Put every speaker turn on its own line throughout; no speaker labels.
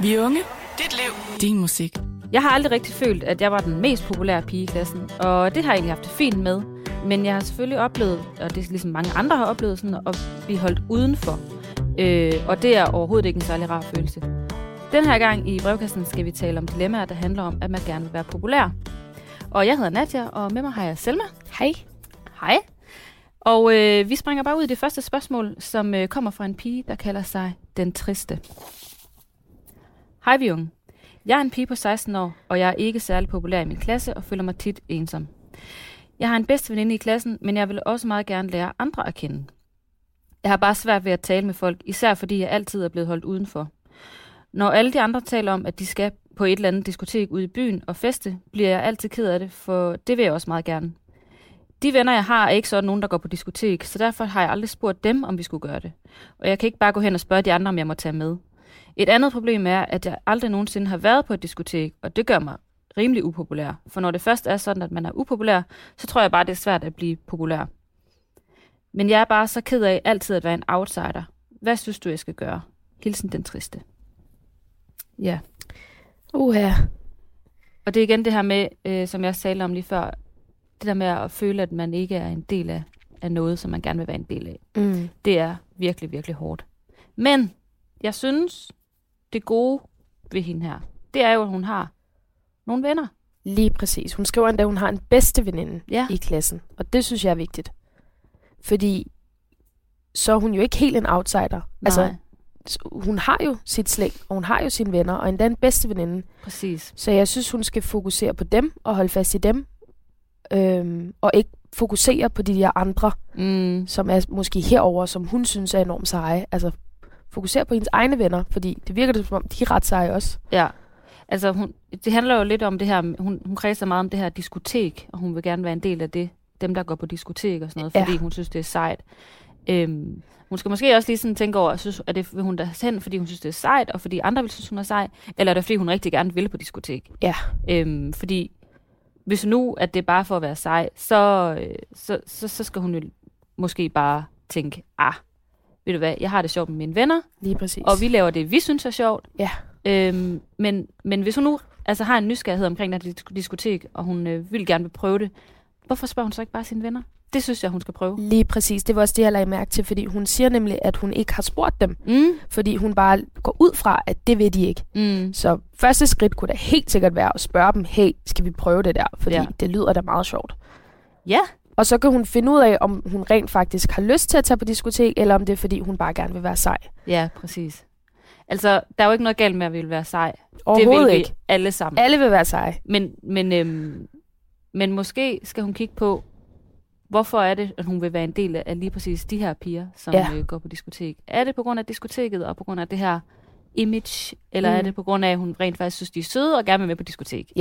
Vi er unge.
Dit liv.
Din musik.
Jeg har aldrig rigtig følt, at jeg var den mest populære pige i klassen, og det har jeg egentlig haft det fint med. Men jeg har selvfølgelig oplevet, og det er ligesom mange andre har oplevet, sådan at blive holdt udenfor. Øh, og det er overhovedet ikke en særlig rar følelse. Den her gang i brevkassen skal vi tale om dilemmaer, der handler om, at man gerne vil være populær. Og jeg hedder Nadja, og med mig har jeg Selma. Hej. Hej. Og øh, vi springer bare ud i det første spørgsmål, som øh, kommer fra en pige, der kalder sig Den Triste. Hej vi unge. Jeg er en pige på 16 år, og jeg er ikke særlig populær i min klasse og føler mig tit ensom. Jeg har en bedste veninde i klassen, men jeg vil også meget gerne lære andre at kende. Jeg har bare svært ved at tale med folk, især fordi jeg altid er blevet holdt udenfor. Når alle de andre taler om, at de skal på et eller andet diskotek ude i byen og feste, bliver jeg altid ked af det, for det vil jeg også meget gerne. De venner, jeg har, er ikke sådan nogen, der går på diskotek, så derfor har jeg aldrig spurgt dem, om vi skulle gøre det. Og jeg kan ikke bare gå hen og spørge de andre, om jeg må tage med. Et andet problem er, at jeg aldrig nogensinde har været på et diskotek, og det gør mig rimelig upopulær. For når det først er sådan, at man er upopulær, så tror jeg bare, det er svært at blive populær. Men jeg er bare så ked af altid at være en outsider. Hvad synes du, jeg skal gøre? Hilsen den triste. Ja,
Uha.
og det er igen det her med, øh, som jeg også talte om lige før, det der med at føle, at man ikke er en del af, af noget, som man gerne vil være en del af.
Mm.
Det er virkelig, virkelig hårdt. Men jeg synes, det gode ved hende her, det er jo, at hun har nogle venner.
Lige præcis. Hun skriver endda, at hun har en bedste veninde
Ja.
i klassen. Og det synes jeg er vigtigt. Fordi så er hun jo ikke helt en outsider. Altså,
Nej,
s- hun har jo sit slæng, og hun har jo sine venner, og endda en bedste veninde.
præcis.
Så jeg synes, hun skal fokusere på dem, og holde fast i dem. Øhm, og ikke fokusere på de der andre,
Mm,
som er måske herover, som hun synes er enormt seje. Altså, fokusere på hendes egne venner, fordi det virker det som om, de er ret seje også.
ja. Altså, hun, det handler jo lidt om det her, hun, hun kredser meget om det her diskotek, og hun vil gerne være en del af det, dem der går på diskotek og sådan noget,
Ja.
fordi hun synes, det er sejt. Øhm, hun skal måske også lige sådan tænke over, synes, er det, vil hun der hen, fordi hun synes, det er sejt, og fordi andre vil synes, hun er sej, eller er det, fordi hun rigtig gerne vil på diskotek?
Ja.
Øhm, fordi hvis nu, at det er bare for at være sej, så, øh, så, så, så skal hun jo måske bare tænke, ah, ved du hvad, jeg har det sjovt med mine venner,
Lige præcis.
og vi laver det, vi synes er sjovt.
Ja.
Øhm, men, men hvis hun nu altså, har en nysgerrighed omkring det her disk- diskotek, og hun øh, vil gerne vil prøve det, hvorfor spørger hun så ikke bare sine venner? Det synes jeg, hun skal prøve.
Lige præcis. Det var også det, jeg lagde mærke til, fordi hun siger nemlig, at hun ikke har spurgt dem.
Mm.
Fordi hun bare går ud fra, at det ved de ikke.
Mm.
Så første skridt kunne da helt sikkert være at spørge dem, hey, skal vi prøve det der? Fordi
Ja.
ja. det lyder da meget sjovt.
Ja,
Og så kan hun finde ud af, om hun rent faktisk har lyst til at tage på diskotek, eller om det er, fordi hun bare gerne vil være sej.
ja, præcis. Altså, der er jo ikke noget galt med at ville være sej. Det vil
Overhovedet
vi
ikke.
alle sammen.
Alle vil være seje.
Men, men, øhm, men måske skal hun kigge på, hvorfor er det, at hun vil være en del af lige præcis de her piger, som ja.
Ja.
øh, går på diskotek. Er det på grund af diskoteket og på grund af det her image, eller mm. er
Mm.
det på grund af, at hun rent faktisk synes, de er søde og gerne vil med på diskotek?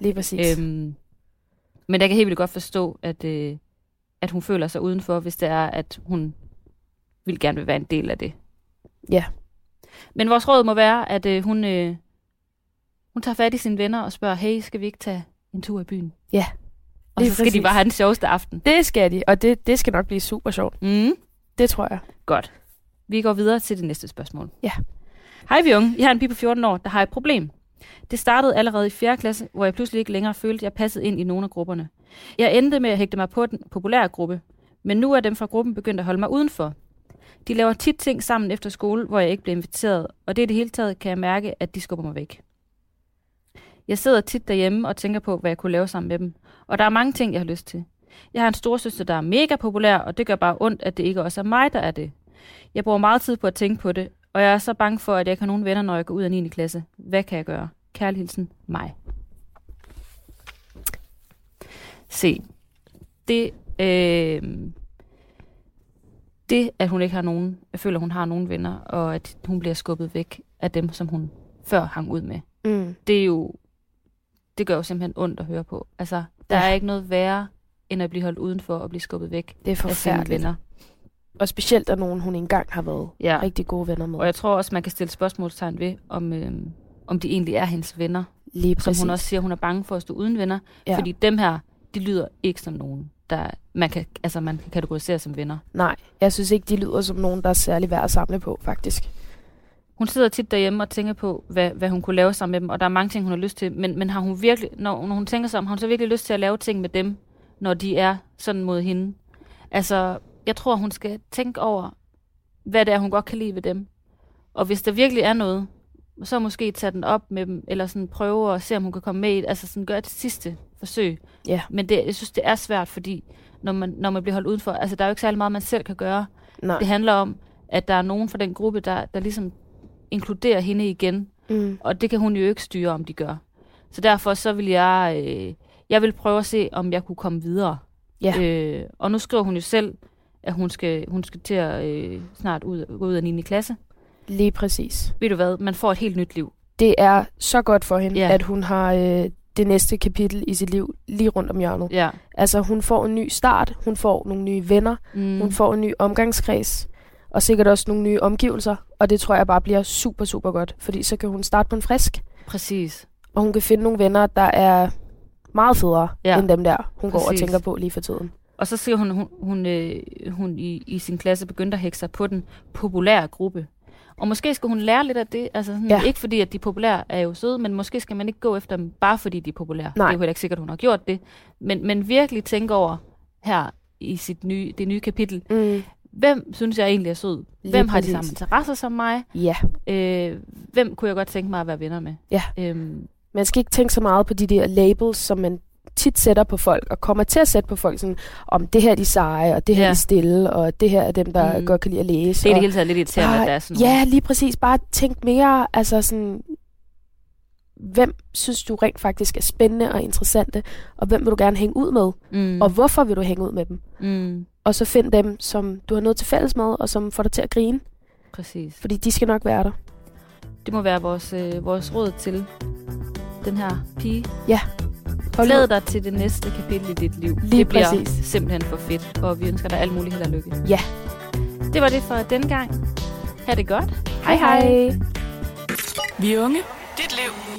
Lige præcis. Øhm.
Øhm, men jeg kan helt vildt godt forstå, at, øh, at hun føler sig udenfor, hvis det er, at hun vil gerne vil være en del af det.
Ja.
Men vores råd må være, at øh, hun, øh, hun tager fat i sine venner og spørger, hey, skal vi ikke tage en tur i byen?
Ja.
Og så
Lige
skal de
præcis.
bare have den sjoveste aften.
Det skal de, og det, det skal nok blive super sjovt.
Mm.
Det tror jeg.
Godt. Vi går videre til det næste spørgsmål.
Ja.
Hej vi unge. Jeg har en pige på 14 år, der har et problem. Det startede allerede i 4. klasse, hvor jeg pludselig ikke længere følte, at jeg passede ind i nogen af grupperne. Jeg endte med at hægte mig på den populære gruppe, men nu er dem fra gruppen begyndt at holde mig udenfor. De laver tit ting sammen efter skole, hvor jeg ikke bliver inviteret, og det i det hele taget kan jeg mærke, at de skubber mig væk. Jeg sidder tit derhjemme og tænker på, hvad jeg kunne lave sammen med dem, og der er mange ting, jeg har lyst til. Jeg har en storsøster, der er mega populær, og det gør bare ondt, at det ikke også er mig, der er det. Jeg bruger meget tid på at tænke på det, og jeg er så bange for, at jeg ikke har nogen venner, når jeg går ud af 9. klasse. Hvad kan jeg gøre? Kærlig hilsen, mig. Se, det, øh, det, at hun ikke har nogen, jeg føler, hun har nogen venner, og at hun bliver skubbet væk af dem, som hun før hang ud med.
Mm.
Det er jo, det gør jo simpelthen ondt at høre på. Altså, der
Ja.
ja. er ikke noget værre, end at blive holdt udenfor og blive skubbet væk
Det er
af sine
forfærdeligt.
venner.
Og specielt af nogen, hun engang har været
Ja.
rigtig gode venner med.
Og jeg tror også, man kan stille spørgsmålstegn ved, om, øhm, om de egentlig er hendes venner.
Lige
Præcis.
præcis.
Som hun også siger, hun er bange for at stå uden venner.
Ja.
Ja. Fordi dem her, de lyder ikke som nogen, der man kan, altså man kan kategorisere som venner.
Nej, jeg synes ikke, de lyder som nogen, der er særlig værd at samle på, faktisk.
Hun sidder tit derhjemme og tænker på, hvad, hvad hun kunne lave sammen med dem, og der er mange ting, hun har lyst til. Men, men har hun virkelig, når, når hun tænker sig om, har hun så virkelig lyst til at lave ting med dem, når de er sådan mod hende? Altså, jeg tror, hun skal tænke over, hvad det er, hun godt kan lide ved dem. Og hvis der virkelig er noget, så måske tage den op med dem, eller sådan prøve at se, om hun kan komme med i det. Altså sådan gøre et sidste forsøg.
Ja.
Men det, jeg synes, det er svært, fordi når man, når man bliver holdt udenfor, altså der er jo ikke særlig meget, man selv kan gøre.
Nej.
Det handler om, at der er nogen fra den gruppe, der, der ligesom inkluderer hende igen,
Mm.
og det kan hun jo ikke styre, om de gør. Så derfor så vil jeg, øh, jeg vil prøve at se, om jeg kunne komme videre.
Ja.
Øh, og nu skriver hun jo selv, at hun skal, hun skal til at øh, snart ud, gå ud af 9. klasse.
Lige præcis.
Ved du hvad, man får et helt nyt liv.
Det er så godt for hende,
Ja.
at hun har øh, det næste kapitel i sit liv lige rundt om hjørnet.
Ja.
Altså, hun får en ny start, hun får nogle nye venner,
Mm.
mm. hun får en ny omgangskreds, og sikkert også nogle nye omgivelser, og det tror jeg bare bliver super, super godt, fordi så kan hun starte på en frisk,
Præcis.
og hun kan finde nogle venner, der er meget federe ja.
Ja.
end dem der, hun går og
Præcis.
tænker på lige for tiden.
Og så skriver hun, hun, hun, øh, hun i, i sin klasse begyndte at hække sig på den populære gruppe. Og måske skal hun lære lidt af det. Altså sådan,
Ja.
ja. Ikke fordi, at de populære er jo søde, men måske skal man ikke gå efter dem, bare fordi de er populære.
Nej.
Det er jo heller ikke sikkert, hun har gjort det. Men, men virkelig tænke over her i sit nye, det nye kapitel.
Mm.
Hvem synes jeg egentlig er sød?
Lige
Hvem har de
præcis.
samme interesser som mig?
Ja,
Øh, hvem kunne jeg godt tænke mig at være venner med?
Ja.
Øhm,
man skal ikke tænke så meget på de der labels, som man tit sætter på folk, og kommer til at sætte på folk sådan, om det her er de seje, og det her ja. er
Ja.
de stille, og det her er dem, der mm.
Mm.
godt kan lide at læse.
det er i
og,
det hele taget lidt irriterende, at der er sådan nogle-
Ja, lige præcis. Bare tænk mere, altså sådan, hvem synes du rent faktisk er spændende og interessante, og hvem vil du gerne hænge ud med, mm.
Mm,
og hvorfor vil du hænge ud med dem?
mm,
Og så find dem, som du har noget til fælles med, og som får dig til at grine,
præcis.
fordi de skal nok være der.
Det må være vores, øh, vores råd til den her pige.
Hold ud.
Glæd dig til det næste kapitel i dit liv.
Lige
det bliver
præcis.
simpelthen for fedt, og vi ønsker dig alt muligt held og lykke.
Ja.
Det var det for denne gang. Ha' det godt.
Hej hej!
Vi unge. Dit liv.